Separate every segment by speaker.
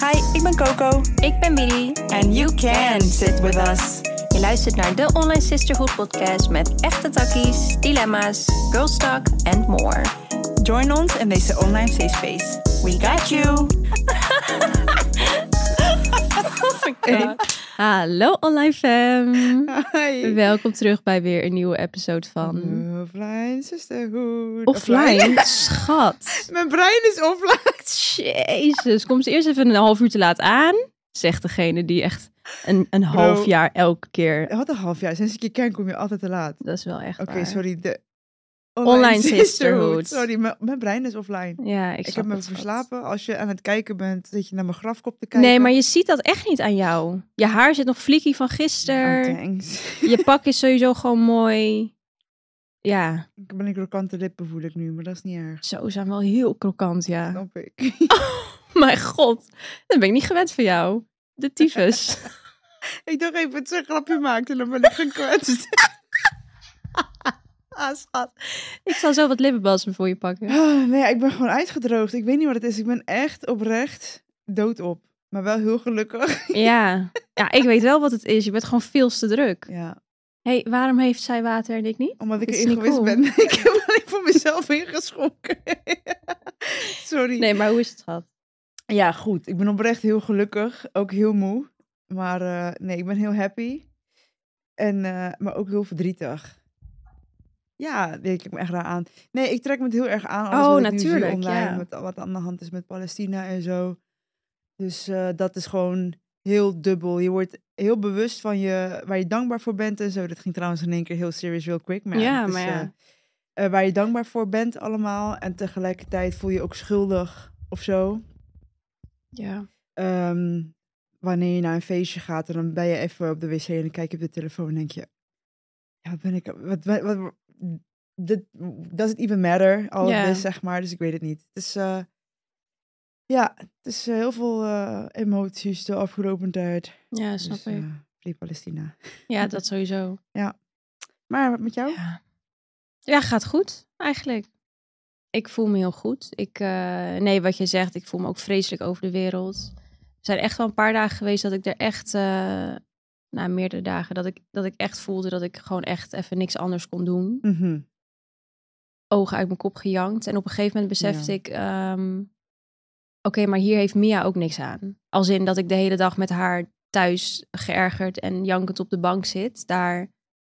Speaker 1: Hi, ik ben Coco.
Speaker 2: Ik ben Billy.
Speaker 1: And you can sit with us.
Speaker 2: Je luistert naar de Online Sisterhood podcast met echte takkies, dilemma's, girl talk and more.
Speaker 1: Join ons in deze online safe space. We got you.
Speaker 2: Oh my god.
Speaker 3: Hallo online fam.
Speaker 1: Hi.
Speaker 3: Welkom terug bij weer een nieuwe episode van
Speaker 1: Offline sisterhood.
Speaker 3: Offline. Schat.
Speaker 1: Mijn brein is offline.
Speaker 3: Jezus, kom ze eerst even een half uur te laat aan. Zegt degene die echt een, een half jaar elke keer.
Speaker 4: Wat een half jaar. Sinds ik je ken kom je altijd te laat.
Speaker 3: Dat is wel echt
Speaker 4: Oké,
Speaker 3: waar.
Speaker 4: sorry. De
Speaker 3: Online sisterhood.
Speaker 4: Sorry, mijn- mijn brein is offline.
Speaker 3: Ja, ik,
Speaker 4: Ik
Speaker 3: snap
Speaker 4: heb me
Speaker 3: het, schat.
Speaker 4: verslapen. Als je aan het kijken bent, zit je naar mijn grafkop te kijken.
Speaker 3: Nee, maar je ziet dat echt niet aan jou. Je haar zit nog flikkie van
Speaker 4: Oh,
Speaker 3: gisteren.
Speaker 4: thanks.
Speaker 3: je pak is sowieso gewoon mooi. Ja,
Speaker 4: Ik ben een krokante lippen voel ik nu, maar dat is niet erg.
Speaker 3: zo zijn wel heel krokant, ja.
Speaker 4: Snap ik.
Speaker 3: Mijn god, dat ben ik niet gewend van jou. De tyfus.
Speaker 4: ik dacht even dat ze een grapje maakte en dan ben ik gekwetst.
Speaker 3: Ah, schat. Ik zal zo wat lippenbalsem voor je pakken.
Speaker 4: Ah, nee, ik ben gewoon uitgedroogd. Ik weet niet wat het is. Ik ben echt oprecht doodop. Maar wel heel gelukkig.
Speaker 3: Ja. ja, ik weet wel wat het is. Je bent gewoon veel te druk.
Speaker 4: Ja,
Speaker 3: Hé, hey, waarom heeft zij water en ik niet?
Speaker 4: omdat ik
Speaker 3: Is
Speaker 4: erin
Speaker 3: niet
Speaker 4: geweest
Speaker 3: cool.
Speaker 4: ben. ik heb alleen voor mezelf ingeschonken. Sorry.
Speaker 3: Nee, maar hoe is het, schat?
Speaker 4: Ja, goed. Ik ben oprecht heel gelukkig. Ook heel moe. Maar eh, nee, ik ben heel happy. En, eh, maar ook heel verdrietig. Ja, daar kijk ik me echt raar aan. Nee, ik trek me het heel erg aan. Alles
Speaker 3: Oh,
Speaker 4: wat ik nu zie
Speaker 3: natuurlijk,
Speaker 4: online,
Speaker 3: ja.
Speaker 4: Met, al wat aan de hand is met Palestina en zo. Dus eh, dat is gewoon heel dubbel. Je wordt heel bewust van je, waar je dankbaar voor bent en zo. Dat ging trouwens in één keer heel serious, real quick. Maar
Speaker 3: Ja,
Speaker 4: het is,
Speaker 3: maar ja.
Speaker 4: eh, eh, waar je dankbaar voor bent allemaal. En tegelijkertijd voel je je ook schuldig of zo
Speaker 3: Ja.
Speaker 4: ehm, wanneer je naar een feestje gaat en dan ben je even op de wc en dan kijk je op de telefoon en denk je, ja, wat ben ik, wat, wat, wat, dit- does it even matter, al
Speaker 3: Ja.
Speaker 4: this, zeg maar, dus ik weet het niet. Het is, eh, ja, het is eh, heel veel eh, emoties de afgelopen tijd.
Speaker 3: Ja, snap
Speaker 4: dus,
Speaker 3: ik.
Speaker 4: eh, Free Palestina.
Speaker 3: Ja, dat sowieso.
Speaker 4: Maar wat met jou?
Speaker 3: Ja. ja, gaat goed eigenlijk. Ik voel me heel goed. Ik, eh, nee, wat je zegt, ik voel me ook vreselijk over de wereld. Er zijn echt wel een paar dagen geweest dat ik er echt, eh na meerdere dagen, dat ik, dat ik echt voelde dat ik gewoon echt even niks anders kon doen.
Speaker 4: Mhm.
Speaker 3: Ogen uit mijn kop gejankt. En op een gegeven moment besefte
Speaker 4: Ja.
Speaker 3: ik, ehm, oké, maar hier heeft Mia ook niks aan. Als in dat ik de hele dag met haar thuis geërgerd en jankend op de bank zit, daar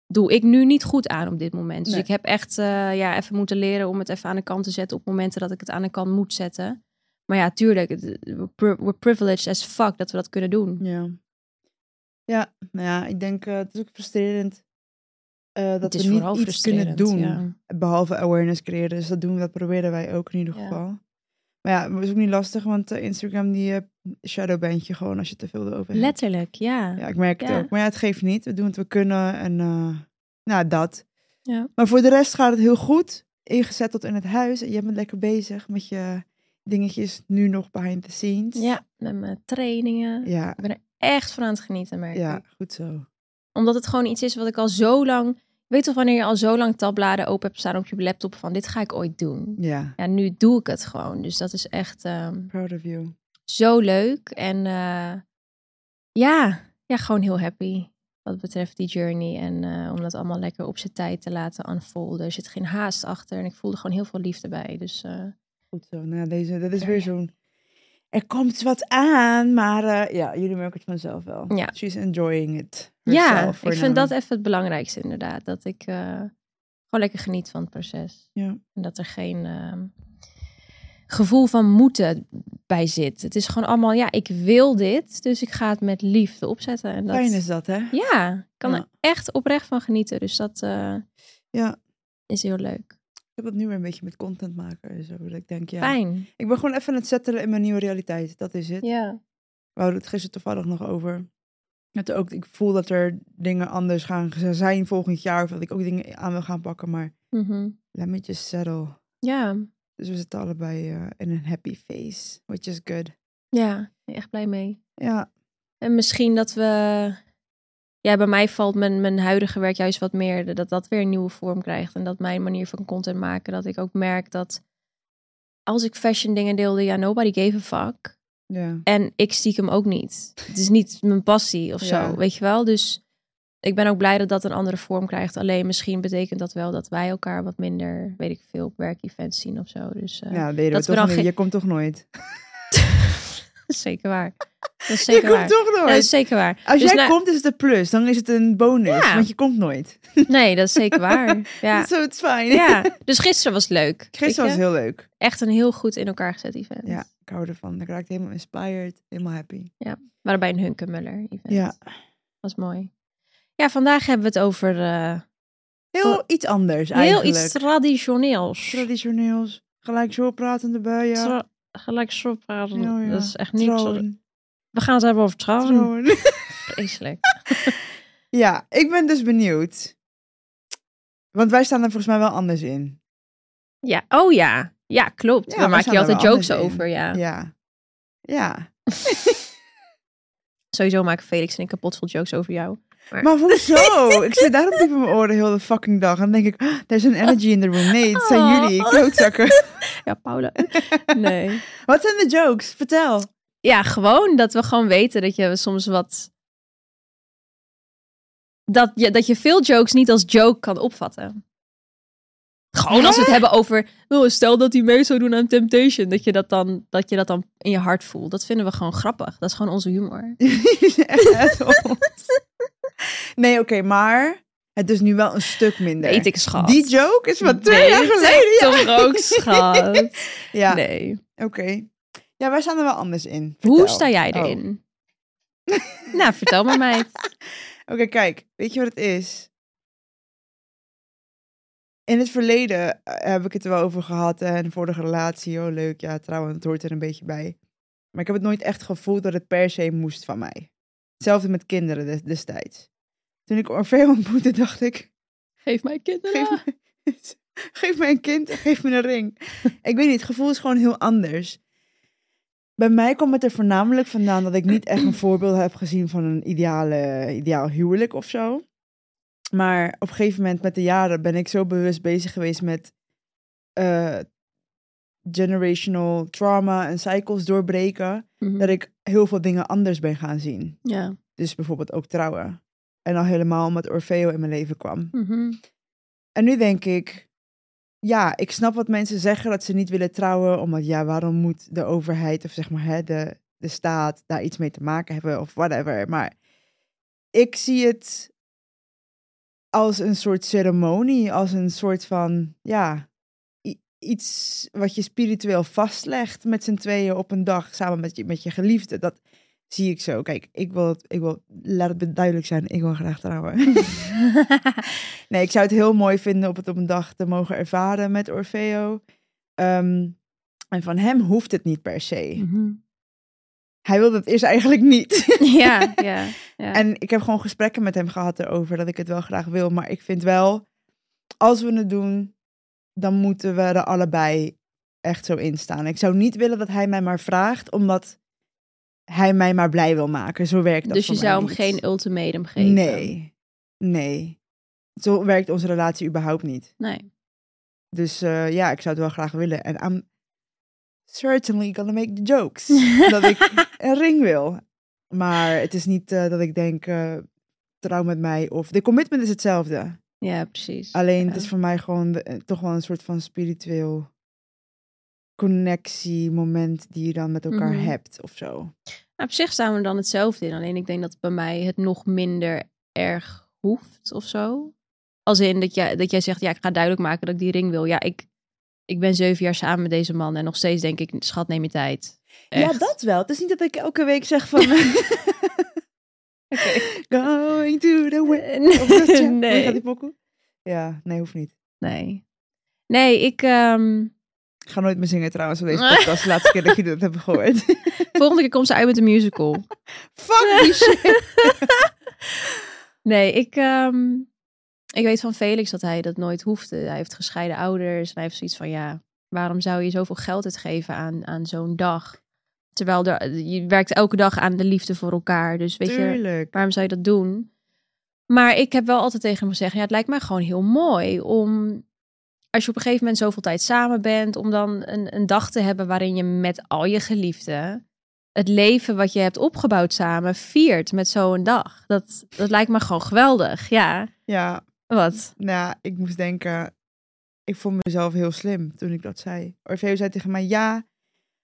Speaker 3: doe ik nu niet goed aan op dit moment. Dus
Speaker 4: Nee.
Speaker 3: ik heb echt eh, ja, even moeten leren om het even aan de kant te zetten op momenten dat ik het aan de kant moet zetten. Maar ja, tuurlijk, het- we're pri- we're privileged as fuck dat we dat kunnen doen.
Speaker 4: Ja. Ja, nou ja, ik denk, eh, het is ook frustrerend eh, dat
Speaker 3: het is
Speaker 4: we niet
Speaker 3: vooral
Speaker 4: iets kunnen
Speaker 3: frustrerend.
Speaker 4: doen.
Speaker 3: ja.
Speaker 4: behalve awareness creëren. Dus dat doen we, dat proberen wij ook in ieder
Speaker 3: Ja.
Speaker 4: geval. Maar ja, dat is ook niet lastig, want eh, Instagram die eh, shadowband je gewoon als je te veel erover hebt.
Speaker 3: Letterlijk, ja.
Speaker 4: Ja, ik merk het
Speaker 3: Ja.
Speaker 4: ook. Maar ja, het geeft niet. We doen wat we kunnen en eh, nou, dat.
Speaker 3: Ja.
Speaker 4: Maar voor de rest gaat het heel goed. Ingezet tot in het huis. En je bent lekker bezig met je dingetjes nu nog behind the scenes.
Speaker 3: Ja, met mijn trainingen.
Speaker 4: Ja,
Speaker 3: Ik ben er echt van aan het genieten, merk
Speaker 4: ja
Speaker 3: ik.
Speaker 4: goed zo.
Speaker 3: Omdat het gewoon iets is wat ik al zo lang... Je Weet toch wanneer je al zo lang tabbladen open hebt staan op je laptop van... Dit ga ik ooit doen.
Speaker 4: Ja,
Speaker 3: Ja, nu doe ik het gewoon. Dus dat is echt... ehm,
Speaker 4: proud of you.
Speaker 3: zo leuk. En eh, ja, ja, gewoon heel happy wat betreft die journey. En eh, om dat allemaal lekker op zijn tijd te laten unfolden. Er zit geen haast achter en ik voelde gewoon heel veel liefde bij. Dus eh,
Speaker 4: Goed zo. Nou, deze, dat is
Speaker 3: Ja,
Speaker 4: weer
Speaker 3: ja.
Speaker 4: zo'n... Er komt wat aan, maar eh, ja, jullie merken het vanzelf wel.
Speaker 3: Ja.
Speaker 4: She's enjoying it.
Speaker 3: ja,
Speaker 4: herself
Speaker 3: ik
Speaker 4: for
Speaker 3: vind
Speaker 4: now.
Speaker 3: dat even het belangrijkste inderdaad. Dat ik eh, gewoon lekker geniet van het proces.
Speaker 4: Ja.
Speaker 3: En dat er geen ehm, gevoel van moeten bij zit. Het is gewoon allemaal, ja, ik wil dit, dus ik ga het met liefde opzetten. En dat,
Speaker 4: Fijn is dat, hè?
Speaker 3: Ja, ik kan
Speaker 4: Ja.
Speaker 3: er echt oprecht van genieten. Dus dat eh,
Speaker 4: Ja.
Speaker 3: is heel leuk.
Speaker 4: Ik heb dat nu weer een beetje met content maken en zo. Dat ik denk, ja.
Speaker 3: Fijn.
Speaker 4: Ik ben gewoon even aan het settelen in mijn nieuwe realiteit. Dat is het.
Speaker 3: Ja.
Speaker 4: We hadden het gisteren toevallig nog over. Dat ook, ik voel dat er dingen anders gaan zijn volgend jaar. Of dat ik ook dingen aan wil gaan pakken. Maar let me just settle.
Speaker 3: Mhm. Ja.
Speaker 4: Dus we zitten allebei eh, in een happy phase. Which is good.
Speaker 3: Ja. Echt blij mee.
Speaker 4: Ja,
Speaker 3: En misschien dat we... Ja, bij mij valt mijn, mijn huidige werk juist wat meer... dat dat weer een nieuwe vorm krijgt. En dat mijn manier van content maken... dat ik ook merk dat... als ik fashion dingen deelde... ja, nobody gave a fuck.
Speaker 4: Ja.
Speaker 3: En ik stiekem ook niet. Het is niet mijn passie of
Speaker 4: Ja.
Speaker 3: zo, weet je wel. Dus ik ben ook blij dat dat een andere vorm krijgt. Alleen misschien betekent dat wel dat wij elkaar wat minder, weet ik veel, op werkevents zien of zo. Dus eh,
Speaker 4: Ja, weet je,
Speaker 3: dat we
Speaker 4: toch
Speaker 3: dan
Speaker 4: niet.
Speaker 3: geen-
Speaker 4: je komt toch nooit.
Speaker 3: dat is zeker waar. Dat is
Speaker 4: Je
Speaker 3: zeker waar.
Speaker 4: komt toch
Speaker 3: Ja, dat
Speaker 4: nooit.
Speaker 3: is zeker waar.
Speaker 4: Als
Speaker 3: Dus
Speaker 4: jij
Speaker 3: nou-
Speaker 4: komt is het een plus, dan is het een bonus,
Speaker 3: Ja.
Speaker 4: want je komt nooit.
Speaker 3: Nee, dat is zeker waar. Ja.
Speaker 4: Zo, het is fijn.
Speaker 3: ja. Dus gisteren was leuk. weet
Speaker 4: Gisteren was
Speaker 3: je.
Speaker 4: heel leuk.
Speaker 3: Echt een heel goed in elkaar gezet event.
Speaker 4: Ja, ik hou ervan. Ik raakte helemaal inspired, helemaal happy.
Speaker 3: We waren bij een Hunkemuller event.
Speaker 4: Ja.
Speaker 3: was mooi. Ja, vandaag hebben we het over eh,
Speaker 4: Heel iets anders
Speaker 3: heel
Speaker 4: eigenlijk.
Speaker 3: iets traditioneels.
Speaker 4: traditioneels. Gelijk zo pratende buien.
Speaker 3: Tra- gelijk zo praten.
Speaker 4: Ja, ja.
Speaker 3: Dat is echt niet zo.
Speaker 4: Troon,
Speaker 3: We gaan het hebben over trouwen.
Speaker 4: troon.
Speaker 3: Vreselijk.
Speaker 4: Ja, ik ben dus benieuwd. Want wij staan er volgens mij wel anders in.
Speaker 3: Ja, oh ja. Ja, klopt.
Speaker 4: Ja,
Speaker 3: Daar
Speaker 4: we
Speaker 3: maak
Speaker 4: staan
Speaker 3: je
Speaker 4: er
Speaker 3: altijd
Speaker 4: wel
Speaker 3: jokes
Speaker 4: anders in.
Speaker 3: over, ja.
Speaker 4: Ja. Ja.
Speaker 3: Sowieso maken Felix en ik kapot veel jokes over jou.
Speaker 4: Maar hoezo? ik zit daarom diep in mijn oren heel de fucking dag. En dan denk ik, "Ah, there's an energy in the room. Nee, het zijn
Speaker 3: Oh.
Speaker 4: jullie, klootzakken.
Speaker 3: Ja, Paula. Nee.
Speaker 4: Wat zijn de jokes? Vertel.
Speaker 3: Ja, gewoon dat we gewoon weten dat je soms wat... Dat je, dat je veel jokes niet als joke kan opvatten. Gewoon als we het hebben over... Oh, stel dat die mee zou doen aan Temptation. Dat je dat, dan, dat je dat dan in je hart voelt. Dat vinden we gewoon grappig. Dat is gewoon onze humor.
Speaker 4: Jullie zijn echt assholes. nee, oké, maar het is nu wel een stuk minder.
Speaker 3: Weet ik, schat.
Speaker 4: Die joke is van twee
Speaker 3: Weet
Speaker 4: jaar
Speaker 3: ik
Speaker 4: geleden. Ja,
Speaker 3: Toch ook, schat.
Speaker 4: ja
Speaker 3: Nee.
Speaker 4: oké. Ja, wij staan er wel anders in.
Speaker 3: Hoe
Speaker 4: Vertel.
Speaker 3: sta jij
Speaker 4: Oh.
Speaker 3: erin? nou, vertel maar, meid.
Speaker 4: Oké, kijk, weet je wat het is? In het verleden eh, heb ik het er wel over gehad. hè, En de vorige relatie, oh leuk, ja, trouwens, het hoort er een beetje bij. Maar ik heb het nooit echt gevoeld dat het per se moest van mij. Hetzelfde met kinderen des- destijds. Toen ik Orfeo ontmoette, dacht ik,
Speaker 3: Geef mij kinderen.
Speaker 4: Geef me, geef me een kind, en geef me een ring. ik weet niet, het gevoel is gewoon heel anders. Bij mij kwam het er voornamelijk vandaan dat ik niet echt een voorbeeld heb gezien van een ideale, ideaal huwelijk of zo. Maar op een gegeven moment met de jaren ben ik zo bewust bezig geweest met eh, generational trauma en cycles doorbreken.
Speaker 3: Mhm.
Speaker 4: Dat ik heel veel dingen anders ben gaan zien.
Speaker 3: Ja.
Speaker 4: Dus bijvoorbeeld ook trouwen. En al helemaal omdat Orfeo in mijn leven kwam.
Speaker 3: Mhm.
Speaker 4: En nu denk ik, ja, ik snap wat mensen zeggen dat ze niet willen trouwen, omdat ja, waarom moet de overheid of zeg maar hè, de, de staat daar iets mee te maken hebben of whatever. Maar ik zie het als een soort ceremonie, als een soort van, ja, i- iets wat je spiritueel vastlegt met z'n tweeën op een dag samen met je, met je geliefde. Dat zie ik zo. Kijk, ik wil, het- ik wil, laat het duidelijk zijn, ik wil graag trouwen. Nee, ik zou het heel mooi vinden om het op een dag te mogen ervaren met Orfeo. Ehm, en van hem hoeft het niet per se.
Speaker 3: Mhm.
Speaker 4: Hij wilde het eerst eigenlijk niet.
Speaker 3: ja, ja, ja.
Speaker 4: en ik heb gewoon gesprekken met hem gehad erover dat ik het wel graag wil. Maar ik vind wel, als we het doen, dan moeten we er allebei echt zo in staan. Ik zou niet willen dat hij mij maar vraagt, omdat hij mij maar blij wil maken. Zo werkt dat
Speaker 3: dus je
Speaker 4: voor mij
Speaker 3: zou hem
Speaker 4: niet.
Speaker 3: geen ultimatum geven?
Speaker 4: Nee, nee. Zo werkt onze relatie überhaupt niet.
Speaker 3: Nee.
Speaker 4: Dus eh, ja, ik zou het wel graag willen. En I'm certainly gonna make the jokes. dat ik een ring wil. Maar het is niet eh, dat ik denk, eh, trouw met mij. Of de commitment is hetzelfde.
Speaker 3: Ja, precies.
Speaker 4: Alleen
Speaker 3: Ja.
Speaker 4: het is voor mij gewoon de- eh, toch wel een soort van spiritueel connectiemoment die je dan met elkaar
Speaker 3: Mhm.
Speaker 4: hebt of zo.
Speaker 3: Nou, op zich staan we dan hetzelfde in. Alleen ik denk dat bij mij het nog minder erg hoeft of zo. Als in dat jij, dat jij zegt, ja, ik ga duidelijk maken dat ik die ring wil. Ja, ik, ik ben zeven jaar samen met deze man. En nog steeds denk ik, schat, neem je tijd. Echt.
Speaker 4: wel. Het is niet dat ik elke week zeg van... Going to the way. Of dat, ja. Hoe gaat die
Speaker 3: nee.
Speaker 4: pokoe? Ja, nee, hoeft niet.
Speaker 3: nee. Nee, ik... ehm,
Speaker 4: Ik ga nooit meer zingen trouwens op deze podcast. De laatste keer dat jullie dat hebben gehoord.
Speaker 3: volgende keer komt ze uit met een musical.
Speaker 4: Fuck die shit.
Speaker 3: Nee, ik, ehm, ik weet van Felix dat hij dat nooit hoefde. Hij heeft gescheiden ouders en hij heeft zoiets van ja, waarom zou je zoveel geld uitgeven aan, aan zo'n dag? Terwijl er, je werkt elke dag aan de liefde voor elkaar. Dus weet je,
Speaker 4: Tuurlijk.
Speaker 3: waarom zou je dat doen? Maar ik heb wel altijd tegen hem gezegd, ja, het lijkt mij gewoon heel mooi om, als je op een gegeven moment zoveel tijd samen bent, om dan een, een dag te hebben waarin je met al je geliefden het leven wat je hebt opgebouwd samen viert met zo'n dag. Dat, dat lijkt me gewoon geweldig. Ja,
Speaker 4: Ja,
Speaker 3: wat?
Speaker 4: Nou, ik moest denken, ik vond mezelf heel slim toen ik dat zei. Orfeo zei tegen mij, ja,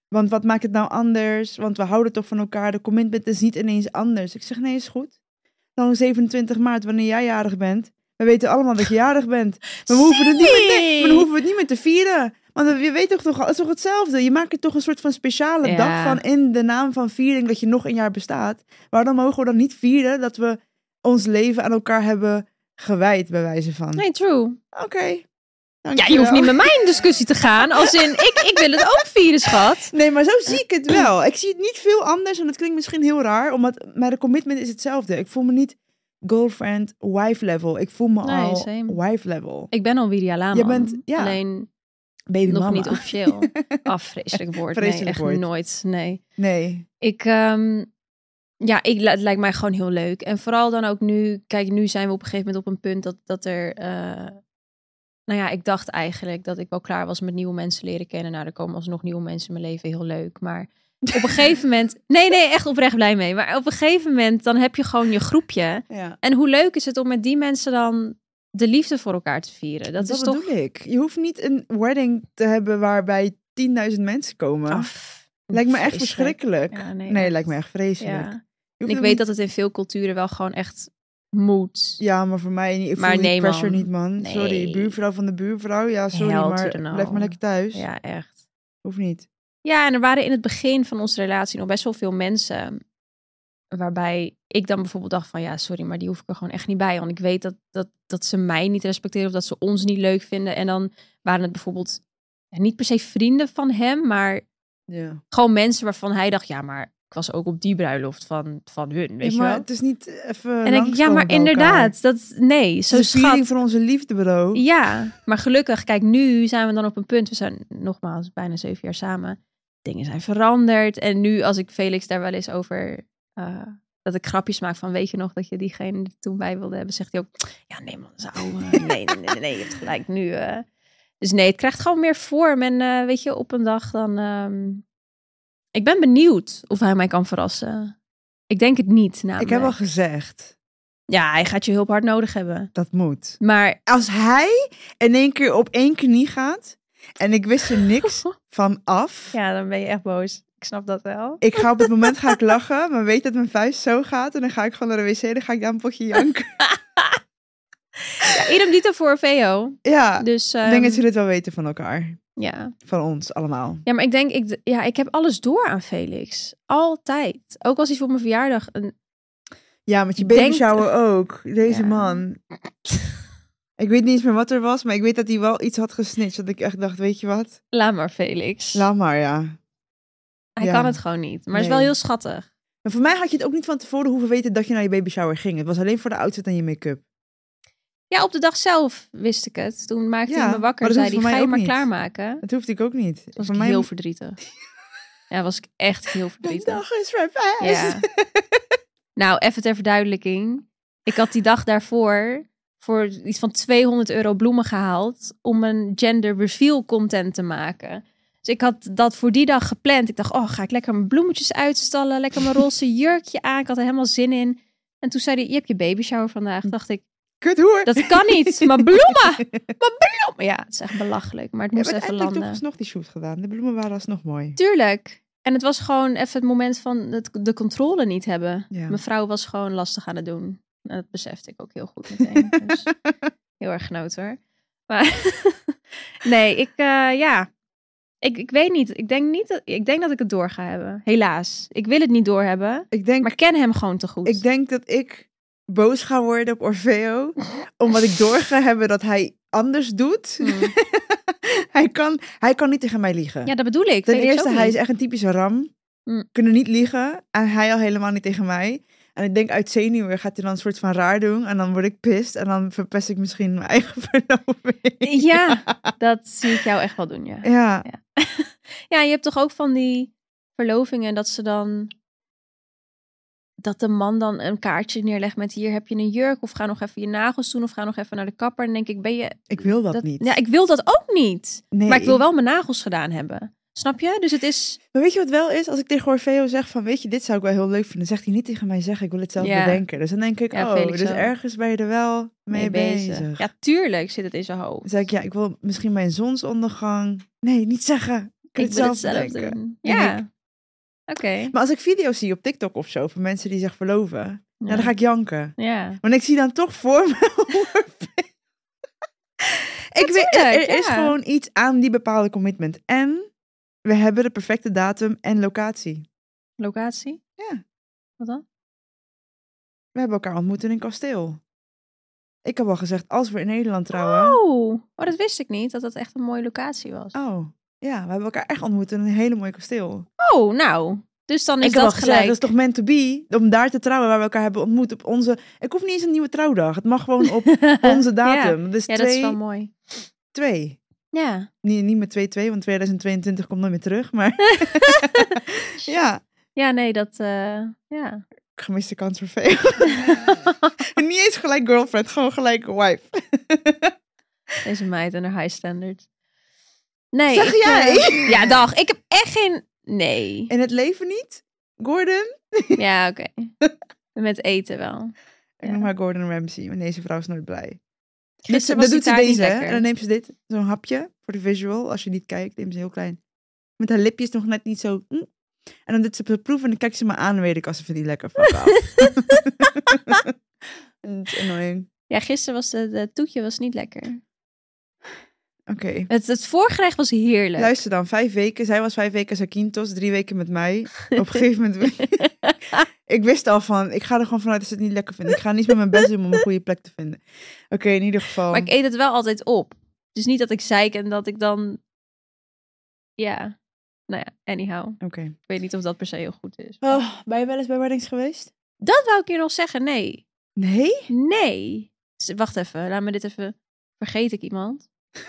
Speaker 4: want wat maakt het nou anders? Want we houden toch van elkaar, de commitment is niet ineens anders. Ik zeg, nee, is goed. Dan 27 maart, wanneer jij jarig bent, we weten allemaal dat je jarig bent. Maar we hoeven het niet meer, nee, maar dan hoeven we het niet meer te vieren. Want we weten toch, toch, het is toch hetzelfde? Je maakt er toch een soort van speciale
Speaker 3: Ja.
Speaker 4: dag van in de naam van viering dat je nog een jaar bestaat. Waarom mogen we dan niet vieren dat we ons leven aan elkaar hebben gewijd, bij wijze van?
Speaker 3: Nee, true.
Speaker 4: Oké. dank
Speaker 3: Ja, je hoeft
Speaker 4: wel.
Speaker 3: niet met mij in discussie te gaan. Als in, ik, ik wil het ook vieren, schat.
Speaker 4: Nee, maar zo zie ik het wel. Ik zie het niet veel anders en dat klinkt misschien heel raar, omdat maar de commitment is hetzelfde. Ik voel me niet girlfriend, wife level. Ik voel me
Speaker 3: Nee,
Speaker 4: al
Speaker 3: same.
Speaker 4: wife level.
Speaker 3: Ik ben al Widia Lama.
Speaker 4: Je bent- ja,
Speaker 3: Alleen
Speaker 4: Baby
Speaker 3: nog
Speaker 4: mama.
Speaker 3: niet officieel. Ah, vreselijk woord. nee,
Speaker 4: Vreselijk
Speaker 3: echt
Speaker 4: woord.
Speaker 3: nooit. Nee.
Speaker 4: Nee.
Speaker 3: Ik, ehm, ja, ik, het lijkt mij gewoon heel leuk. En vooral dan ook nu, kijk, nu zijn we op een gegeven moment op een punt dat, dat er, eh, nou ja, ik dacht eigenlijk dat ik wel klaar was met nieuwe mensen leren kennen. Nou, er komen alsnog nieuwe mensen in mijn leven, heel leuk. Maar op een gegeven moment, nee, nee, echt oprecht blij mee. Maar op een gegeven moment, dan heb je gewoon je groepje.
Speaker 4: Ja.
Speaker 3: En hoe leuk is het om met die mensen dan de liefde voor elkaar te vieren? Dat,
Speaker 4: Dat,
Speaker 3: is toch
Speaker 4: bedoel ik. Je hoeft niet een wedding te hebben waarbij 10.000 mensen komen.
Speaker 3: af.
Speaker 4: lijkt me echt
Speaker 3: Ah, Vreselijk.
Speaker 4: verschrikkelijk.
Speaker 3: Ja,
Speaker 4: nee,
Speaker 3: nee,
Speaker 4: lijkt me echt vreselijk.
Speaker 3: Ja.
Speaker 4: Je
Speaker 3: En
Speaker 4: hoeft
Speaker 3: ik
Speaker 4: ook
Speaker 3: weet
Speaker 4: niet-
Speaker 3: dat het in veel culturen wel gewoon echt moet.
Speaker 4: Ja, maar voor mij niet. Ik
Speaker 3: Maar
Speaker 4: voel
Speaker 3: nee,
Speaker 4: die pressure
Speaker 3: man.
Speaker 4: niet, man. Sorry,
Speaker 3: Nee.
Speaker 4: buurvrouw van de buurvrouw. Ja, sorry,
Speaker 3: Hell to
Speaker 4: maar
Speaker 3: the no.
Speaker 4: blijf maar lekker thuis.
Speaker 3: Ja, echt.
Speaker 4: Hoeft niet.
Speaker 3: Ja, en er waren in het begin van onze relatie nog best wel veel mensen. Waarbij ik dan bijvoorbeeld dacht van ja, sorry, maar die hoef ik er gewoon echt niet bij. Want ik weet dat, dat, dat ze mij niet respecteren of dat ze ons niet leuk vinden. En dan waren het bijvoorbeeld ja, niet per se vrienden van hem, maar
Speaker 4: Ja.
Speaker 3: gewoon mensen waarvan hij dacht, ja, maar ik was ook op die bruiloft van, van hun, weet
Speaker 4: Ja,
Speaker 3: je
Speaker 4: maar
Speaker 3: wel.
Speaker 4: het is niet even.
Speaker 3: En dan denk ik, ja, maar inderdaad, dat, nee,
Speaker 4: Zo
Speaker 3: zo
Speaker 4: de viering
Speaker 3: schat.
Speaker 4: van onze liefde, bro.
Speaker 3: Ja, maar gelukkig, kijk, nu zijn we dan op een punt. We zijn nogmaals bijna zeven jaar samen. Dingen zijn veranderd. En nu, als ik Felix daar wel eens over. eh, dat ik grapjes maak van. Weet je nog dat je diegene die toen bij wilde hebben? Zegt hij ook. Ja, nee, man, dat is ouwe. Nee, nee, nee, nee, nee, je hebt gelijk nu. eh." Dus nee, het krijgt gewoon meer vorm. En eh, weet je, op een dag dan. ehm, ik ben benieuwd of hij mij kan verrassen. Ik denk het niet.
Speaker 4: ik
Speaker 3: Namelijk.
Speaker 4: heb al gezegd,
Speaker 3: Ja, hij gaat je hulp hard nodig hebben.
Speaker 4: dat moet.
Speaker 3: Maar.
Speaker 4: Als hij in één keer op één knie gaat en ik wist er niks van af.
Speaker 3: Ja, dan ben je echt boos. Ik snap dat wel.
Speaker 4: Ik ga op het moment ga ik lachen, maar weet dat mijn vuist zo gaat. En dan ga ik gewoon naar de wc, dan ga ik daar een potje janken.
Speaker 3: Ja, idem dito voor Veo.
Speaker 4: Ja,
Speaker 3: Dus
Speaker 4: ik
Speaker 3: ehm,
Speaker 4: denk dat ze dit wel weten van elkaar.
Speaker 3: ja.
Speaker 4: Van ons allemaal.
Speaker 3: ja, maar ik denk, ik, ja, ik heb alles door aan Felix. Altijd. Ook als hij voor mijn verjaardag een.
Speaker 4: Ja, met je
Speaker 3: Ik denk-
Speaker 4: baby shower ook. Deze
Speaker 3: Ja.
Speaker 4: man. Ik weet niet eens meer wat er was, maar ik weet dat hij wel iets had gesnitcht. Dat ik echt dacht, weet je wat?
Speaker 3: Laat maar, Felix.
Speaker 4: Laat maar, ja.
Speaker 3: hij
Speaker 4: ja.
Speaker 3: kan het gewoon niet. Maar het is
Speaker 4: Nee.
Speaker 3: wel heel schattig.
Speaker 4: Maar voor mij had je het ook niet van tevoren hoeven weten dat je naar je baby shower ging. Het was alleen voor de outfit en je make-up.
Speaker 3: Ja, op de dag zelf wist ik het. Toen maakte
Speaker 4: Ja,
Speaker 3: hij me wakker
Speaker 4: maar
Speaker 3: en zei
Speaker 4: dat hoeft voor
Speaker 3: hij, ga
Speaker 4: mij
Speaker 3: je
Speaker 4: ook
Speaker 3: maar
Speaker 4: niet.
Speaker 3: klaarmaken.
Speaker 4: Dat hoefde ik ook niet.
Speaker 3: Toen was
Speaker 4: voor
Speaker 3: ik
Speaker 4: mij
Speaker 3: heel verdrietig. Ja, was ik echt heel
Speaker 4: de
Speaker 3: verdrietig.
Speaker 4: dag is verpest.
Speaker 3: Ja. nou, even ter verduidelijking. Ik had die dag daarvoor voor iets van 200 euro bloemen gehaald om een gender reveal content te maken. Dus ik had dat voor die dag gepland. Ik dacht, oh, ga ik lekker mijn bloemetjes uitstallen, lekker mijn roze jurkje aan. Ik had er helemaal zin in. En toen zei hij, je hebt je baby shower vandaag. Dacht ik,
Speaker 4: Kut hoer.
Speaker 3: dat kan niet. Maar bloemen, maar bloemen. Ja, het is echt belachelijk, maar het
Speaker 4: We
Speaker 3: moest
Speaker 4: hebben
Speaker 3: even
Speaker 4: uiteindelijk toch
Speaker 3: landen.
Speaker 4: alsnog die shoot gedaan. De bloemen waren alsnog mooi.
Speaker 3: Tuurlijk. En het was gewoon even het moment van het, de controle niet hebben.
Speaker 4: Ja.
Speaker 3: Mijn vrouw was gewoon lastig aan het doen. En dat besefte ik ook heel goed meteen. dus heel erg genoten hoor. Maar nee, ik, eh, ja. Ik, ik weet niet. Ik denk niet dat ik denk dat ik het door ga hebben. Helaas. Ik wil het niet doorhebben.
Speaker 4: Ik denk,
Speaker 3: Maar ik ken hem gewoon te goed.
Speaker 4: ik denk dat ik boos ga worden op Orfeo. omdat ik door ga hebben dat hij anders doet.
Speaker 3: Hmm.
Speaker 4: hij, kan, hij kan niet tegen mij liegen.
Speaker 3: Ja, dat bedoel ik.
Speaker 4: Ten
Speaker 3: Felix
Speaker 4: eerste,
Speaker 3: ook
Speaker 4: hij is
Speaker 3: niet.
Speaker 4: echt een typische ram.
Speaker 3: Mm.
Speaker 4: Kunnen niet liegen. En hij al helemaal niet tegen mij. En ik denk uit zenuwen gaat hij dan een soort van raar doen. En dan word ik pist. En dan verpest ik misschien mijn eigen verloving.
Speaker 3: Ja, dat zie ik jou echt wel doen, ja.
Speaker 4: Ja,
Speaker 3: Ja, je hebt toch ook van die verlovingen dat ze dan. Dat de man dan een kaartje neerlegt met hier heb je een jurk of ga nog even je nagels doen of ga nog even naar de kapper. En dan denk ik, ben je.
Speaker 4: ik wil dat,
Speaker 3: dat-
Speaker 4: niet.
Speaker 3: Ja, ik wil dat ook niet.
Speaker 4: Nee.
Speaker 3: Maar ik wil wel mijn nagels gedaan hebben. Snap je? Dus het is...
Speaker 4: Maar weet je wat wel is? Als ik tegen Orfeo zeg van, weet je, dit zou ik wel heel leuk vinden. Dan zegt hij niet tegen mij zeggen, ik wil het zelf
Speaker 3: Ja.
Speaker 4: bedenken. Dus dan denk ik,
Speaker 3: Ja,
Speaker 4: oh,
Speaker 3: Felix
Speaker 4: dus
Speaker 3: wel.
Speaker 4: ergens ben je er wel mee, bezig.
Speaker 3: Ja, tuurlijk zit het in zijn hoofd.
Speaker 4: Dan zeg ik, ja, ik wil misschien mijn zonsondergang. Nee, niet zeggen. Ik, wil het zelf bedenken.
Speaker 3: doen.
Speaker 4: En
Speaker 3: Ja. Oké.
Speaker 4: Maar als ik video's zie op TikTok of zo van mensen die zich verloven, nou, dan ga ik janken.
Speaker 3: Ja.
Speaker 4: Want ik zie dan toch voor me. Orfeo. ik weet, er, er
Speaker 3: Natuurlijk,
Speaker 4: is
Speaker 3: ja.
Speaker 4: gewoon iets aan die bepaalde commitment. En we hebben de perfecte datum en locatie.
Speaker 3: Locatie?
Speaker 4: Ja.
Speaker 3: Wat dan?
Speaker 4: We hebben elkaar ontmoet in een kasteel. Ik heb al gezegd, als we in Nederland trouwen.
Speaker 3: Oh. oh, dat wist ik niet, dat dat echt een mooie locatie was.
Speaker 4: Oh, ja, we hebben elkaar echt ontmoet in een hele mooi kasteel.
Speaker 3: Oh, nou. Dus dan is
Speaker 4: ik heb al
Speaker 3: dat
Speaker 4: gezegd,
Speaker 3: gelijk.
Speaker 4: dat is toch meant to be? Om daar te trouwen waar we elkaar hebben ontmoet op onze... Ik hoef niet eens een nieuwe trouwdag. Het mag gewoon op onze datum. Dus
Speaker 3: ja, dat is
Speaker 4: twee,
Speaker 3: wel mooi.
Speaker 4: twee.
Speaker 3: Ja.
Speaker 4: Nee, niet met 2-2, want 2022 komt nooit meer terug. Maar ja,
Speaker 3: Ja, nee, dat... eh, ja.
Speaker 4: gemiste kans voor veel. niet eens gelijk girlfriend, gewoon gelijk wife.
Speaker 3: Deze meid en haar high standard. Nee.
Speaker 4: Zeg
Speaker 3: ik, eh,
Speaker 4: jij?
Speaker 3: ja, dag. Ik heb echt geen... Nee.
Speaker 4: In het leven niet? Gordon?
Speaker 3: Ja, oké. Met eten wel.
Speaker 4: Ik
Speaker 3: Ja.
Speaker 4: noem haar Gordon Ramsay, want deze vrouw is nooit blij.
Speaker 3: Gisteren
Speaker 4: dan
Speaker 3: was die
Speaker 4: doet ze
Speaker 3: taart niet
Speaker 4: deze hè,
Speaker 3: lekker.
Speaker 4: en dan neemt ze dit, zo'n hapje voor de visual. Als je niet kijkt, neemt ze heel klein. Met haar lipjes nog net niet zo. mm. En dan doet ze het proeven en dan kijkt ze me aan en weet ik als ze vindt die lekker fuck af. Dat is annoying.
Speaker 3: Ja, gisteren was de, de toetje was niet lekker.
Speaker 4: Oké.
Speaker 3: Het, het voorgerecht was heerlijk.
Speaker 4: Luister dan, vijf weken. Zij was vijf weken Sakintos, drie weken met mij. Op een gegeven moment... ik wist al van, ik ga er gewoon vanuit dat ze het niet lekker vinden. Ik ga niet met mijn best doen om een goede plek te vinden. Oké, in ieder geval.
Speaker 3: Maar ik eet het wel altijd op. Dus niet dat ik zeik en dat ik dan... Ja. Nou ja, anyhow.
Speaker 4: Oké.
Speaker 3: Ik weet niet of dat per se heel goed is.
Speaker 4: Oh, ben je wel eens bij weddings geweest?
Speaker 3: Dat wou ik hier nog zeggen. Nee.
Speaker 4: Nee?
Speaker 3: Nee. Z- Wacht even. Laat me dit even... Vergeet ik iemand?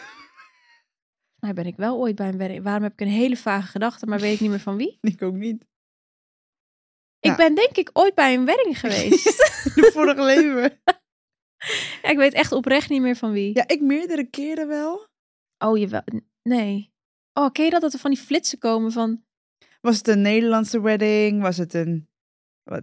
Speaker 3: Maar ben ik wel ooit bij een wedding? Waarom heb ik een hele vage gedachte, maar weet ik niet meer van wie?
Speaker 4: Ik ook niet. Ja.
Speaker 3: Ik ben denk ik ooit bij een wedding geweest.
Speaker 4: De vorige leven.
Speaker 3: Ja, ik weet echt oprecht niet meer van wie.
Speaker 4: Ja, ik meerdere keren wel.
Speaker 3: Oh, jawel. N- Nee. Oh, ken je dat? Dat er van die flitsen komen van...
Speaker 4: Was het een Nederlandse wedding? Was het een...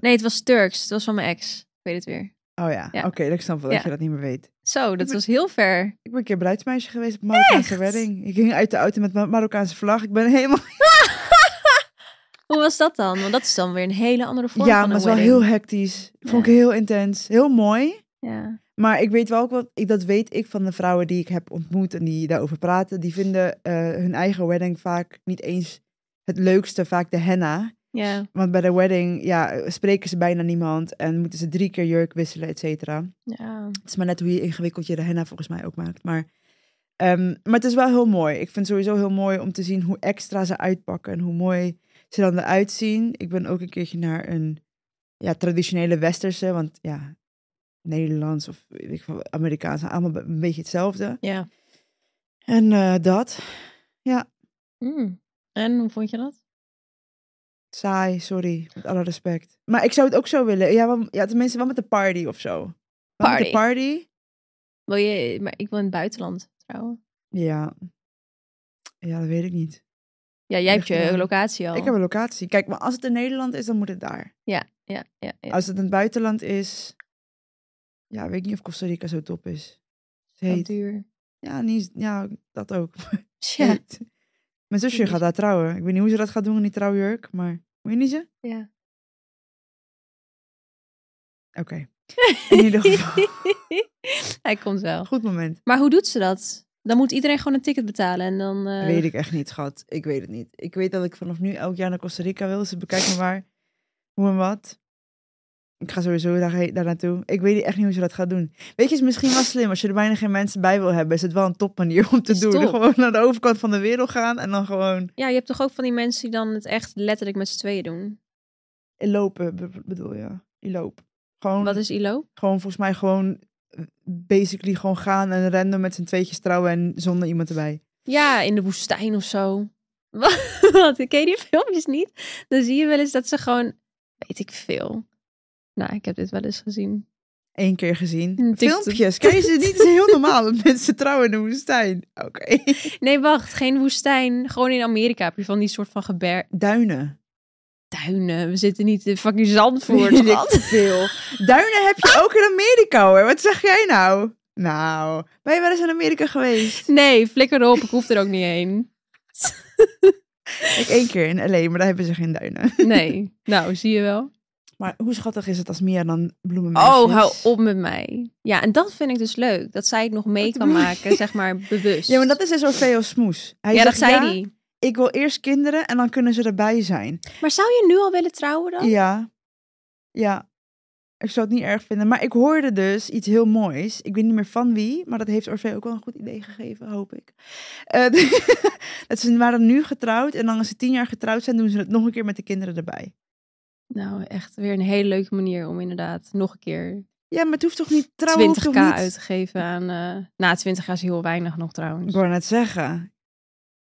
Speaker 3: Nee, het was Turks. Het was van mijn ex. Ik weet het weer.
Speaker 4: Oh ja,
Speaker 3: Ja.
Speaker 4: oké, ik snap wel
Speaker 3: Ja.
Speaker 4: dat je dat niet meer weet.
Speaker 3: Zo, dat was heel ver.
Speaker 4: Ik ben een keer bruidsmeisje geweest op een Marokkaanse
Speaker 3: Echt?
Speaker 4: wedding. Ik ging uit de auto met een Marokkaanse vlag. Ik ben helemaal...
Speaker 3: Hoe was dat dan? Want dat is dan weer een hele andere vorm van
Speaker 4: Ja, maar
Speaker 3: een
Speaker 4: het was wel heel
Speaker 3: wedding.
Speaker 4: hectisch. Vond ik heel intens. Heel mooi.
Speaker 3: Ja.
Speaker 4: Maar ik weet wel ook wat... Ik, dat weet ik van de vrouwen die ik heb ontmoet en die daarover praten. Die vinden eh, hun eigen wedding vaak niet eens het leukste. Vaak de henna.
Speaker 3: Ja.
Speaker 4: Want bij de wedding ja, eh, spreken ze bijna niemand. En moeten ze drie keer jurk wisselen, et cetera.
Speaker 3: ja.
Speaker 4: Het is maar net hoe je ingewikkeld je de henna volgens mij ook maakt. Maar, ehm, maar het is wel heel mooi. Ik vind het sowieso heel mooi om te zien hoe extra ze uitpakken en hoe mooi ze dan eruit zien. Ik ben ook een keertje naar een ja, traditionele westerse, want ja, Nederlands of weet ik veel, Amerikaans, zijn allemaal een beetje hetzelfde.
Speaker 3: Ja.
Speaker 4: En eh, dat,
Speaker 3: Mm. En, hoe vond je dat?
Speaker 4: saai, sorry, met alle respect. Maar ik zou het ook zo willen. Ja, wel, ja tenminste wel met de party of zo. Wel Met
Speaker 3: Party.
Speaker 4: de party.
Speaker 3: Wil je... Maar ik wil in het buitenland trouwen.
Speaker 4: Ja. Ja, dat weet ik niet.
Speaker 3: Ja, jij hebt
Speaker 4: Ligt
Speaker 3: je
Speaker 4: eraan.
Speaker 3: locatie al.
Speaker 4: Ik heb een locatie. Kijk, maar als het in Nederland is, dan moet het daar.
Speaker 3: Ja, ja, ja.
Speaker 4: Als het in het buitenland is, ja, weet ik niet of Costa Rica zo top is. Het is
Speaker 3: Wel
Speaker 4: heet.
Speaker 3: duur.
Speaker 4: Ja, niet, ja, dat ook.
Speaker 3: Ja.
Speaker 4: Heet. Mijn zusje gaat daar trouwen. Ik weet niet hoe ze dat gaat doen in die trouwjurk, maar weet je niet ze?
Speaker 3: Ja.
Speaker 4: Oké. In ieder geval,
Speaker 3: Hij komt wel.
Speaker 4: goed moment.
Speaker 3: Maar hoe doet ze dat? Dan moet iedereen gewoon een ticket betalen en dan... eh,
Speaker 4: Weet ik echt niet, schat. Ik weet het niet. Ik weet dat ik vanaf nu elk jaar naar Costa Rica wil. Ze bekijken me waar, hoe en wat. Ik ga sowieso daar, daar naartoe. Ik weet echt niet hoe ze dat gaat doen. Weet je, het is misschien wel slim. Als je er bijna geen mensen bij wil hebben, is het wel een topmanier om te
Speaker 3: Is
Speaker 4: doen.
Speaker 3: top.
Speaker 4: Gewoon naar de overkant van de wereld gaan en dan gewoon
Speaker 3: Ja, je hebt toch ook van die mensen die dan het echt letterlijk met z'n tweeën doen.
Speaker 4: lopen, be- bedoel je. Loop. Gewoon,
Speaker 3: Wat is ILO?
Speaker 4: gewoon volgens mij gewoon eh, basically gewoon gaan en random met z'n tweetjes trouwen en zonder iemand erbij.
Speaker 3: Ja, in de woestijn of zo. Wat? Ken je die filmpjes niet? Dan zie je wel eens dat ze gewoon, weet ik veel. Nou, ik heb dit wel eens gezien.
Speaker 4: één keer gezien.
Speaker 3: Een TikTok.
Speaker 4: Filmpjes. Ken je ze niet? Het is heel normaal dat mensen trouwen in de woestijn. Oké.
Speaker 3: Nee, wacht. Geen woestijn. Gewoon in Amerika heb je van die soort van geber...
Speaker 4: Duinen.
Speaker 3: Duinen. We zitten niet in fucking Zandvoort.
Speaker 4: Weet ik
Speaker 3: Wat?
Speaker 4: veel. Duinen heb je ook in Amerika hoor. Wat zeg jij nou? Nou, ben je wel eens in Amerika geweest?
Speaker 3: Nee, flikker op. Ik hoef er ook niet heen.
Speaker 4: Ik één keer in LA, maar daar hebben ze geen duinen.
Speaker 3: Nee. Nou, zie je wel.
Speaker 4: Maar hoe schattig is het als Mia dan bloemen
Speaker 3: Oh, hou op met mij. Ja, en dat vind ik dus leuk. Dat zij het nog mee kan maken, zeg maar, bewust.
Speaker 4: Ja, maar dat is dus Orfeo Smoes. Hij
Speaker 3: Ja, dat
Speaker 4: zegt,
Speaker 3: zei
Speaker 4: ja,
Speaker 3: hij.
Speaker 4: ik wil eerst kinderen en dan kunnen ze erbij zijn.
Speaker 3: Maar zou je nu al willen trouwen dan?
Speaker 4: Ja. Ja. Ik zou het niet erg vinden. Maar ik hoorde dus iets heel moois. Ik weet niet meer van wie, maar dat heeft Orfeo ook wel een goed idee gegeven, hoop ik. Eh, dat ze waren nu getrouwd en dan als ze tien jaar getrouwd zijn, doen ze het nog een keer met de kinderen erbij.
Speaker 3: Nou, echt weer een hele leuke manier om inderdaad nog een keer
Speaker 4: Ja, maar het hoeft toch niet trouwen? hoeft
Speaker 3: 20k
Speaker 4: toch niet...
Speaker 3: uit te geven aan... eh na 20k is heel weinig nog
Speaker 4: Ik
Speaker 3: trouwens.
Speaker 4: wou net zeggen.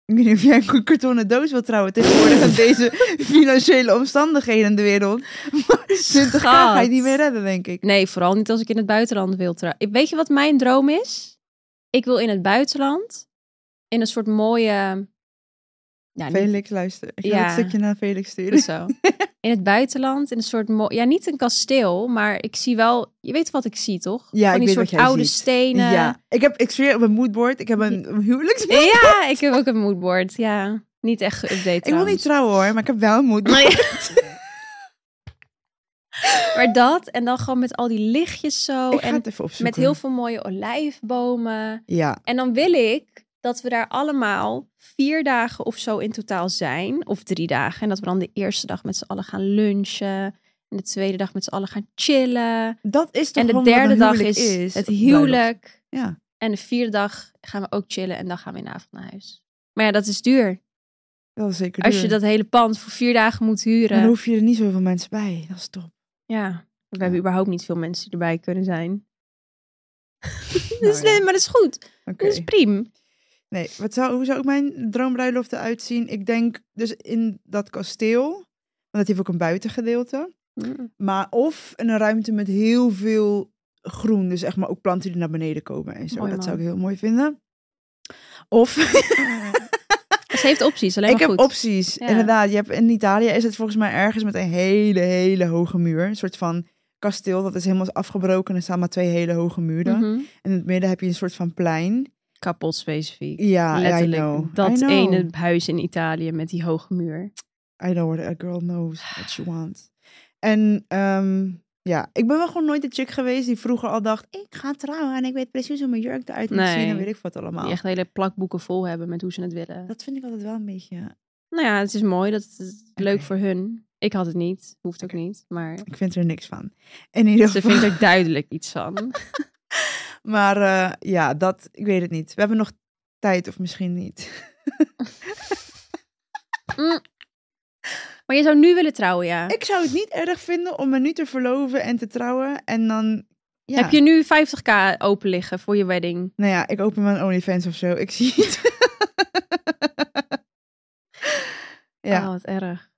Speaker 4: Ik weet niet of jij een kartonnen doos wil trouwen tegenwoordig met deze financiële omstandigheden in de wereld. Maar 20k ga je niet meer redden, denk ik.
Speaker 3: Nee, vooral niet als ik in het buitenland wil trouwen. Weet je wat mijn droom is? Ik wil in het buitenland, in een soort mooie... Ja, niet
Speaker 4: Felix, luister. Ik ga
Speaker 3: Ja.
Speaker 4: het stukje naar Felix
Speaker 3: Goed
Speaker 4: sturen.
Speaker 3: zo. In het buitenland, in een soort, mo- ja, niet een kasteel, maar ik zie wel, je weet wat ik zie, toch?
Speaker 4: Ja,
Speaker 3: Van die
Speaker 4: ik weet
Speaker 3: soort
Speaker 4: wat jij
Speaker 3: oude
Speaker 4: ziet.
Speaker 3: stenen.
Speaker 4: Ja, ik heb, ik zweer op mijn moodboard, ik heb een een huwelijks...
Speaker 3: Ja, ik heb ook een moodboard. Ja, niet echt geüpdate.
Speaker 4: Ik wil
Speaker 3: trouwens. Oh,
Speaker 4: niet trouwen hoor, maar ik heb wel een moodboard.
Speaker 3: Maar dat en dan gewoon met al die lichtjes zo
Speaker 4: ik
Speaker 3: Oh,
Speaker 4: ga
Speaker 3: en
Speaker 4: het even opzoeken.
Speaker 3: met heel veel mooie olijfbomen.
Speaker 4: Ja,
Speaker 3: En dan wil ik dat we daar allemaal vier dagen of zo in totaal zijn, of drie dagen, en dat we dan de eerste dag met z'n allen gaan lunchen. En de tweede dag met z'n allen gaan chillen.
Speaker 4: dat is toch
Speaker 3: en de
Speaker 4: gewoon wat
Speaker 3: derde
Speaker 4: een
Speaker 3: dag
Speaker 4: huwelijk
Speaker 3: is,
Speaker 4: is.
Speaker 3: het
Speaker 4: Of bruiloft.
Speaker 3: huwelijk.
Speaker 4: Ja.
Speaker 3: En de vierde dag gaan we ook chillen en dan gaan we in de avond naar huis. Maar ja, dat is duur.
Speaker 4: Dat is zeker
Speaker 3: Als je
Speaker 4: duur.
Speaker 3: dat eh, hele pand voor vier dagen moet huren.
Speaker 4: Dan hoef je er niet zoveel mensen bij. Dat is top.
Speaker 3: Ja, we
Speaker 4: Ja.
Speaker 3: hebben überhaupt niet veel mensen die erbij kunnen zijn.
Speaker 4: Nou
Speaker 3: dus,
Speaker 4: ja,
Speaker 3: nee, maar dat is goed.
Speaker 4: oké.
Speaker 3: Dat is prima.
Speaker 4: Nee, wat zou, hoe zou ook mijn droombruiloft eruit zien? Ik denk dus in dat kasteel, want dat heeft ook een buitengedeelte. Maar of in een ruimte met heel veel groen, dus echt maar ook planten die naar beneden komen en zo.
Speaker 3: Mooi,
Speaker 4: dat
Speaker 3: man.
Speaker 4: zou ik heel mooi vinden. Of,
Speaker 3: Ze heeft opties, alleen
Speaker 4: ik
Speaker 3: maar
Speaker 4: heb
Speaker 3: goed.
Speaker 4: opties,
Speaker 3: Ja.
Speaker 4: inderdaad. Je hebt, in Italië is het volgens mij ergens met een hele, hele hoge muur. Een soort van kasteel dat is helemaal afgebroken en er staan maar twee hele hoge muren.
Speaker 3: Mhm.
Speaker 4: En in het midden heb je een soort van plein.
Speaker 3: Kapot specifiek.
Speaker 4: Ja, I
Speaker 3: Letterlijk
Speaker 4: know. I
Speaker 3: dat
Speaker 4: know.
Speaker 3: ene huis in Italië met die hoge muur.
Speaker 4: I know what a girl knows what she wants. En ehm, ja, ik ben wel gewoon nooit de chick geweest die vroeger al dacht... ik ga trouwen en ik weet precies hoe mijn jurk eruit moet zien
Speaker 3: Nee.
Speaker 4: en weet ik wat allemaal.
Speaker 3: Die echt hele plakboeken vol hebben met hoe ze het willen.
Speaker 4: Dat vind ik altijd wel een beetje...
Speaker 3: Nou ja, het is mooi. Dat het is leuk
Speaker 4: Oké.
Speaker 3: voor hun. Ik had het niet. Hoeft ook niet. Maar
Speaker 4: Ik vind er niks van. In ieder
Speaker 3: ze
Speaker 4: geval...
Speaker 3: vindt er duidelijk iets van.
Speaker 4: Maar eh, ja, dat... Ik weet het niet. We hebben nog tijd of misschien niet.
Speaker 3: Maar je zou nu willen trouwen, ja?
Speaker 4: Ik zou het niet erg vinden om me nu te verloven en te trouwen. En dan... Ja.
Speaker 3: Heb je nu 50k open liggen voor je wedding?
Speaker 4: Nou ja, ik open mijn OnlyFans of zo. Ik zie het. ja.
Speaker 3: Oh, wat erg.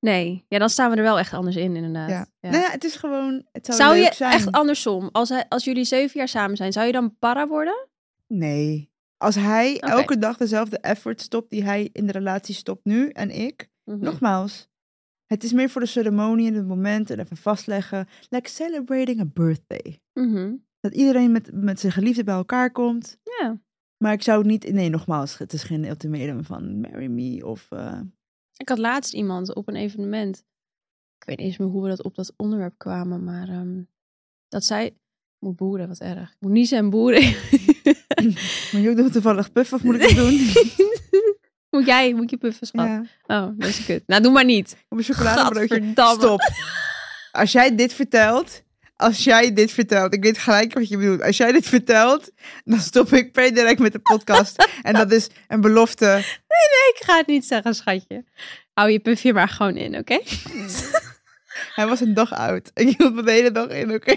Speaker 3: Nee. Ja, dan staan we er wel echt anders in, inderdaad.
Speaker 4: Ja.
Speaker 3: Ja.
Speaker 4: Nou ja, het is gewoon. Het zou,
Speaker 3: zou
Speaker 4: leuk
Speaker 3: je
Speaker 4: zijn.
Speaker 3: echt andersom, als, hij- als jullie zeven jaar samen zijn, zou je dan para worden?
Speaker 4: Nee. Als hij
Speaker 3: Oké.
Speaker 4: elke dag dezelfde effort stopt die hij in de relatie stopt nu en ik. Nogmaals, het is meer voor de ceremonie en het moment en even vastleggen. Like celebrating a birthday.
Speaker 3: Mhm.
Speaker 4: Dat iedereen met, met zijn geliefde bij elkaar komt.
Speaker 3: Ja.
Speaker 4: Maar ik zou het niet. Nee, nogmaals, het is geen ultimatum van marry me of. eh,
Speaker 3: Ik had laatst iemand op een evenement. Ik weet niet eens meer hoe we dat op dat onderwerp kwamen, maar ehm, dat zij... Ik moet boeren, wat erg. Ik moet niezen en boeren.
Speaker 4: moet je ook nog toevallig puffen of moet ik het doen?
Speaker 3: moet jij, moet je puffen, schat?
Speaker 4: ja.
Speaker 3: Oh, dat is kut. Nou, doe maar niet.
Speaker 4: Op een chocoladebroodje.
Speaker 3: Gadverdamme.
Speaker 4: Stop. Als jij dit vertelt, als jij dit vertelt, ik weet gelijk wat je bedoelt. Als jij dit vertelt, dan stop ik per direct met de podcast. en dat is een belofte.
Speaker 3: Ik ga het niet zeggen, schatje. Hou je puffje maar gewoon in, oké?
Speaker 4: Hij was een dag oud. Ik hield me de hele dag in, oké?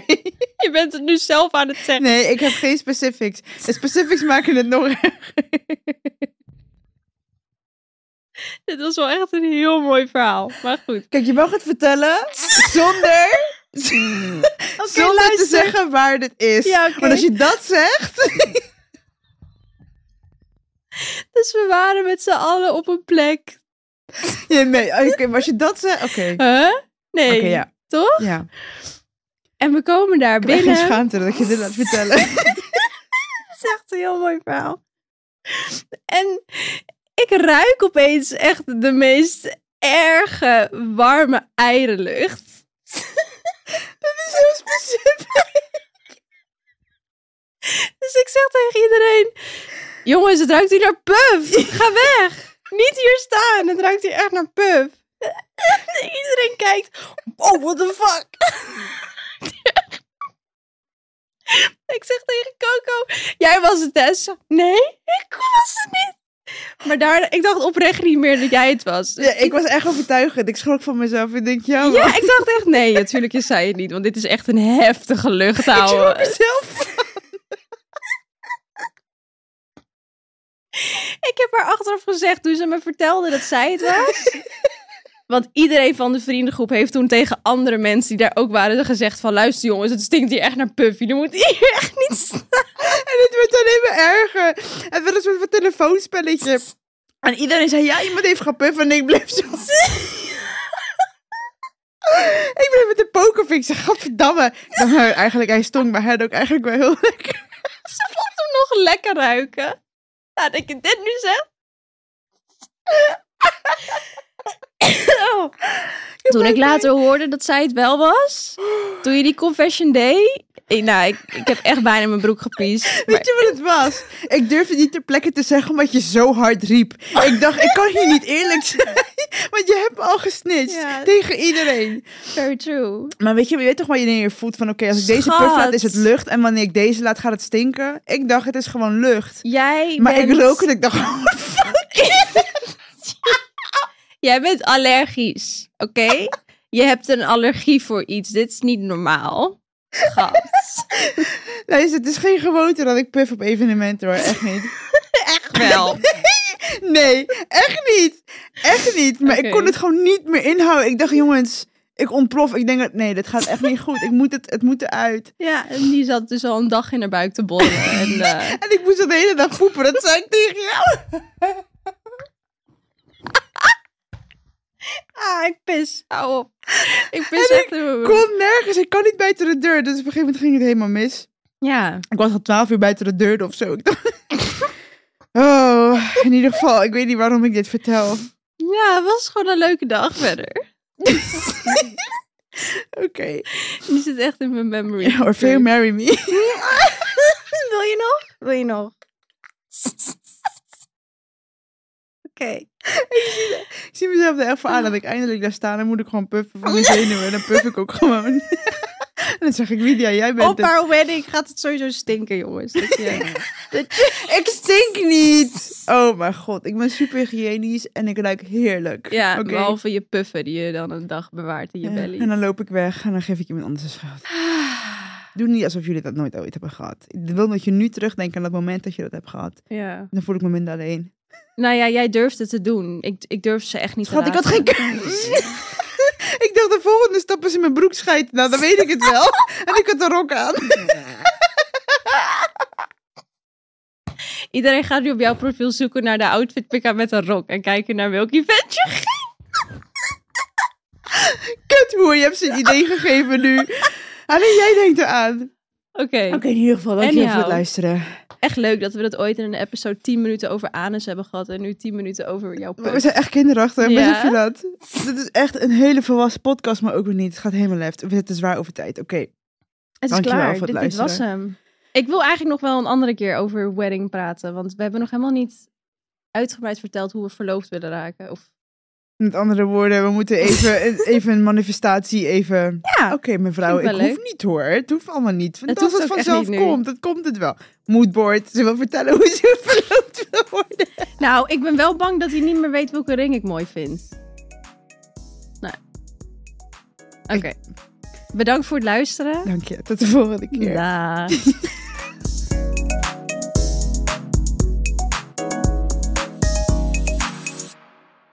Speaker 3: Je bent het nu zelf aan het zeggen.
Speaker 4: Nee, ik heb geen specifics. De specifics maken het nog erger.
Speaker 3: Dit was wel echt een heel mooi verhaal. Maar goed.
Speaker 4: Kijk, je mag het vertellen zonder,
Speaker 3: Oké,
Speaker 4: Zonder
Speaker 3: luister.
Speaker 4: te zeggen waar dit is.
Speaker 3: Ja, oké.
Speaker 4: Want als je dat zegt...
Speaker 3: Dus we waren met z'n allen op een plek.
Speaker 4: Ja, nee, oké, maar als je dat zegt... Oké,
Speaker 3: Huh? Nee.
Speaker 4: Oké, ja.
Speaker 3: Toch?
Speaker 4: ja. Ik
Speaker 3: En we komen daar
Speaker 4: heb echt geen
Speaker 3: binnen.
Speaker 4: schaamte dat ik je dit laat vertellen.
Speaker 3: Dat is echt een heel mooi verhaal. En ik ruik opeens echt de meest erge, warme eierenlucht.
Speaker 4: dat is heel specifiek.
Speaker 3: Dus ik zeg tegen iedereen: Jongens, het ruikt hier naar puf. Ga weg. Niet hier staan. Het ruikt hier echt naar puf. iedereen kijkt: Oh, what the fuck. ik zeg tegen Coco: Jij was het, Tess. Nee, ik was het niet. Maar daar, ik dacht oprecht niet meer dat jij het was. Dus
Speaker 4: Ja, ik was echt overtuigend. Ik schrok van mezelf. Ik denk, ja,
Speaker 3: ja,
Speaker 4: maar
Speaker 3: ik dacht echt, nee, natuurlijk is zij het niet. Want dit is echt een heftige lucht,
Speaker 4: ik schrok
Speaker 3: ouwe.
Speaker 4: mezelf.
Speaker 3: Ik heb haar achteraf gezegd toen ze me vertelde dat zij het was. Want iedereen van de vriendengroep heeft toen tegen andere mensen die daar ook waren gezegd van... Luister jongens, het stinkt hier echt naar Puff. Jullie moeten hier echt niet staan.
Speaker 4: En het werd alleen maar erger. Het werd een soort van telefoonspelletje. En iedereen zei, ja, iemand heeft gepuffen. En ik bleef zo... ik bleef met de pokervink. Ik zei, gadverdamme. Dan, nou, eigenlijk, hij stonk, maar hij had ook eigenlijk wel heel lekker.
Speaker 3: Ze vond hem nog lekker ruiken. Nou, dat je dit nu zegt. Oh. Toen ik later hoorde dat zij het wel was, toen je die confession deed... eh, Nou, ik, ik heb echt bijna in mijn broek gepiest. maar-
Speaker 4: Weet je wat het was? Ik durfde niet ter plekke te zeggen omdat je zo hard riep. Ik dacht, ik kan hier niet eerlijk zijn. Want je hebt me al gesnitcht
Speaker 3: Ja.
Speaker 4: tegen iedereen.
Speaker 3: Very true.
Speaker 4: Maar weet je, je weet toch wanneer je voelt van... Oké, als ik deze
Speaker 3: Schat.
Speaker 4: puff laat, is het lucht. En wanneer ik deze laat, gaat het stinken. Ik dacht, het is gewoon lucht.
Speaker 3: Jij
Speaker 4: Maar
Speaker 3: bent...
Speaker 4: ik rook het, ik dacht, what the fuck?
Speaker 3: Jij bent allergisch, oké? Je hebt een allergie voor iets. Dit is niet normaal. Gast.
Speaker 4: Luister, het is geen gewoonte dat ik puff op evenementen hoor, echt niet.
Speaker 3: Echt wel.
Speaker 4: Nee, echt niet. Echt niet. Maar ik
Speaker 3: Oké.
Speaker 4: kon het gewoon niet meer inhouden. Ik dacht, jongens, ik ontplof. Ik denk, dat- nee, dit gaat echt niet goed. Ik moet het, het moet eruit.
Speaker 3: Ja, en die zat dus al een dag in haar buik te bollen. En, eh,
Speaker 4: En ik moest al de hele dag poepen, dat zei ik tegen jou.
Speaker 3: ah, ik pis. Hou op. Ik pis
Speaker 4: En
Speaker 3: echt in mijn
Speaker 4: Ik
Speaker 3: broek.
Speaker 4: kon nergens, ik kan niet buiten de deur. Dus op een gegeven moment ging het helemaal mis.
Speaker 3: Ja.
Speaker 4: Ik was al twaalf uur buiten de deur of zo. Ik dacht- Oh, in ieder geval, ik weet niet waarom ik dit vertel. Oké.
Speaker 3: Ja, het was gewoon een leuke dag verder. Die zit echt in mijn memory.
Speaker 4: Ja, Orfeo, marry me.
Speaker 3: Wil je nog? Wil je nog? Oké.
Speaker 4: Ik zie mezelf er echt voor aan dat ik eindelijk daar sta. Dan moet ik gewoon puffen van mijn zenuwen. En dan puff ik ook gewoon. en dan zeg ik, Lydia, jij bent
Speaker 3: Op haar wedding gaat het sowieso stinken, jongens. Dat je-
Speaker 4: het. Ik stink niet! Oh mijn god, ik ben super hygiënisch en ik ruik heerlijk.
Speaker 3: Ja,
Speaker 4: Oké.
Speaker 3: behalve je puffen die je dan een dag bewaart in je
Speaker 4: Ja,
Speaker 3: belly.
Speaker 4: En dan loop ik weg en dan geef ik iemand anders een schuld. Doe niet alsof jullie dat nooit ooit hebben gehad. Ik wil dat je nu terugdenkt aan dat moment dat je dat hebt gehad.
Speaker 3: Ja.
Speaker 4: Dan voel ik me minder alleen.
Speaker 3: Nou ja, jij durfde het te doen. Ik, ik durfde ze echt niet
Speaker 4: Schat,
Speaker 3: te
Speaker 4: ik had geen
Speaker 3: raken.
Speaker 4: keus. ik dacht, de volgende stap is in mijn broek scheiden. Nou, dan weet ik het wel. en ik had een rok aan.
Speaker 3: Iedereen gaat nu op jouw profiel zoeken naar de outfit pick-up met een rok. En kijken naar welk event je ging.
Speaker 4: Kut, hoe je hebt ze een idee gegeven nu. Alleen jij denkt eraan. Oké,
Speaker 3: Oké,
Speaker 4: in ieder geval,
Speaker 3: dankjewel voor het
Speaker 4: luisteren.
Speaker 3: echt leuk dat we dat ooit in een episode 10 minuten over anus hebben gehad. En nu 10 minuten over jouw
Speaker 4: We
Speaker 3: puff.
Speaker 4: zijn echt kinderachtig,
Speaker 3: Ja.
Speaker 4: besef je dat? Dit is echt een hele volwassen podcast, maar ook weer niet. Het gaat helemaal left. We zitten zwaar over tijd, oké.
Speaker 3: Het is
Speaker 4: dankjewel
Speaker 3: klaar.
Speaker 4: voor
Speaker 3: Dit,
Speaker 4: het
Speaker 3: dit was
Speaker 4: luisteren.
Speaker 3: hem. Ik wil eigenlijk nog wel een andere keer over wedding praten. Want we hebben nog helemaal niet uitgebreid verteld hoe we verloofd willen raken. Of...
Speaker 4: Met andere woorden, we moeten even, een- even een manifestatie, even...
Speaker 3: Ja,
Speaker 4: Oké, mevrouw, ik
Speaker 3: vind ik wel
Speaker 4: hoef niet hoor. Het hoeft allemaal niet. Want
Speaker 3: Het
Speaker 4: als
Speaker 3: hoeft
Speaker 4: het
Speaker 3: ook echt
Speaker 4: vanzelf
Speaker 3: niet nu.
Speaker 4: komt, dan komt het wel. Moodboard, ze wil vertellen hoe ze verloopt wil worden.
Speaker 3: Nou, ik ben wel bang dat hij niet meer weet welke ring ik mooi vind. Nee. Oké. Bedankt voor het luisteren.
Speaker 4: Dank je, tot de volgende keer.
Speaker 3: Daag.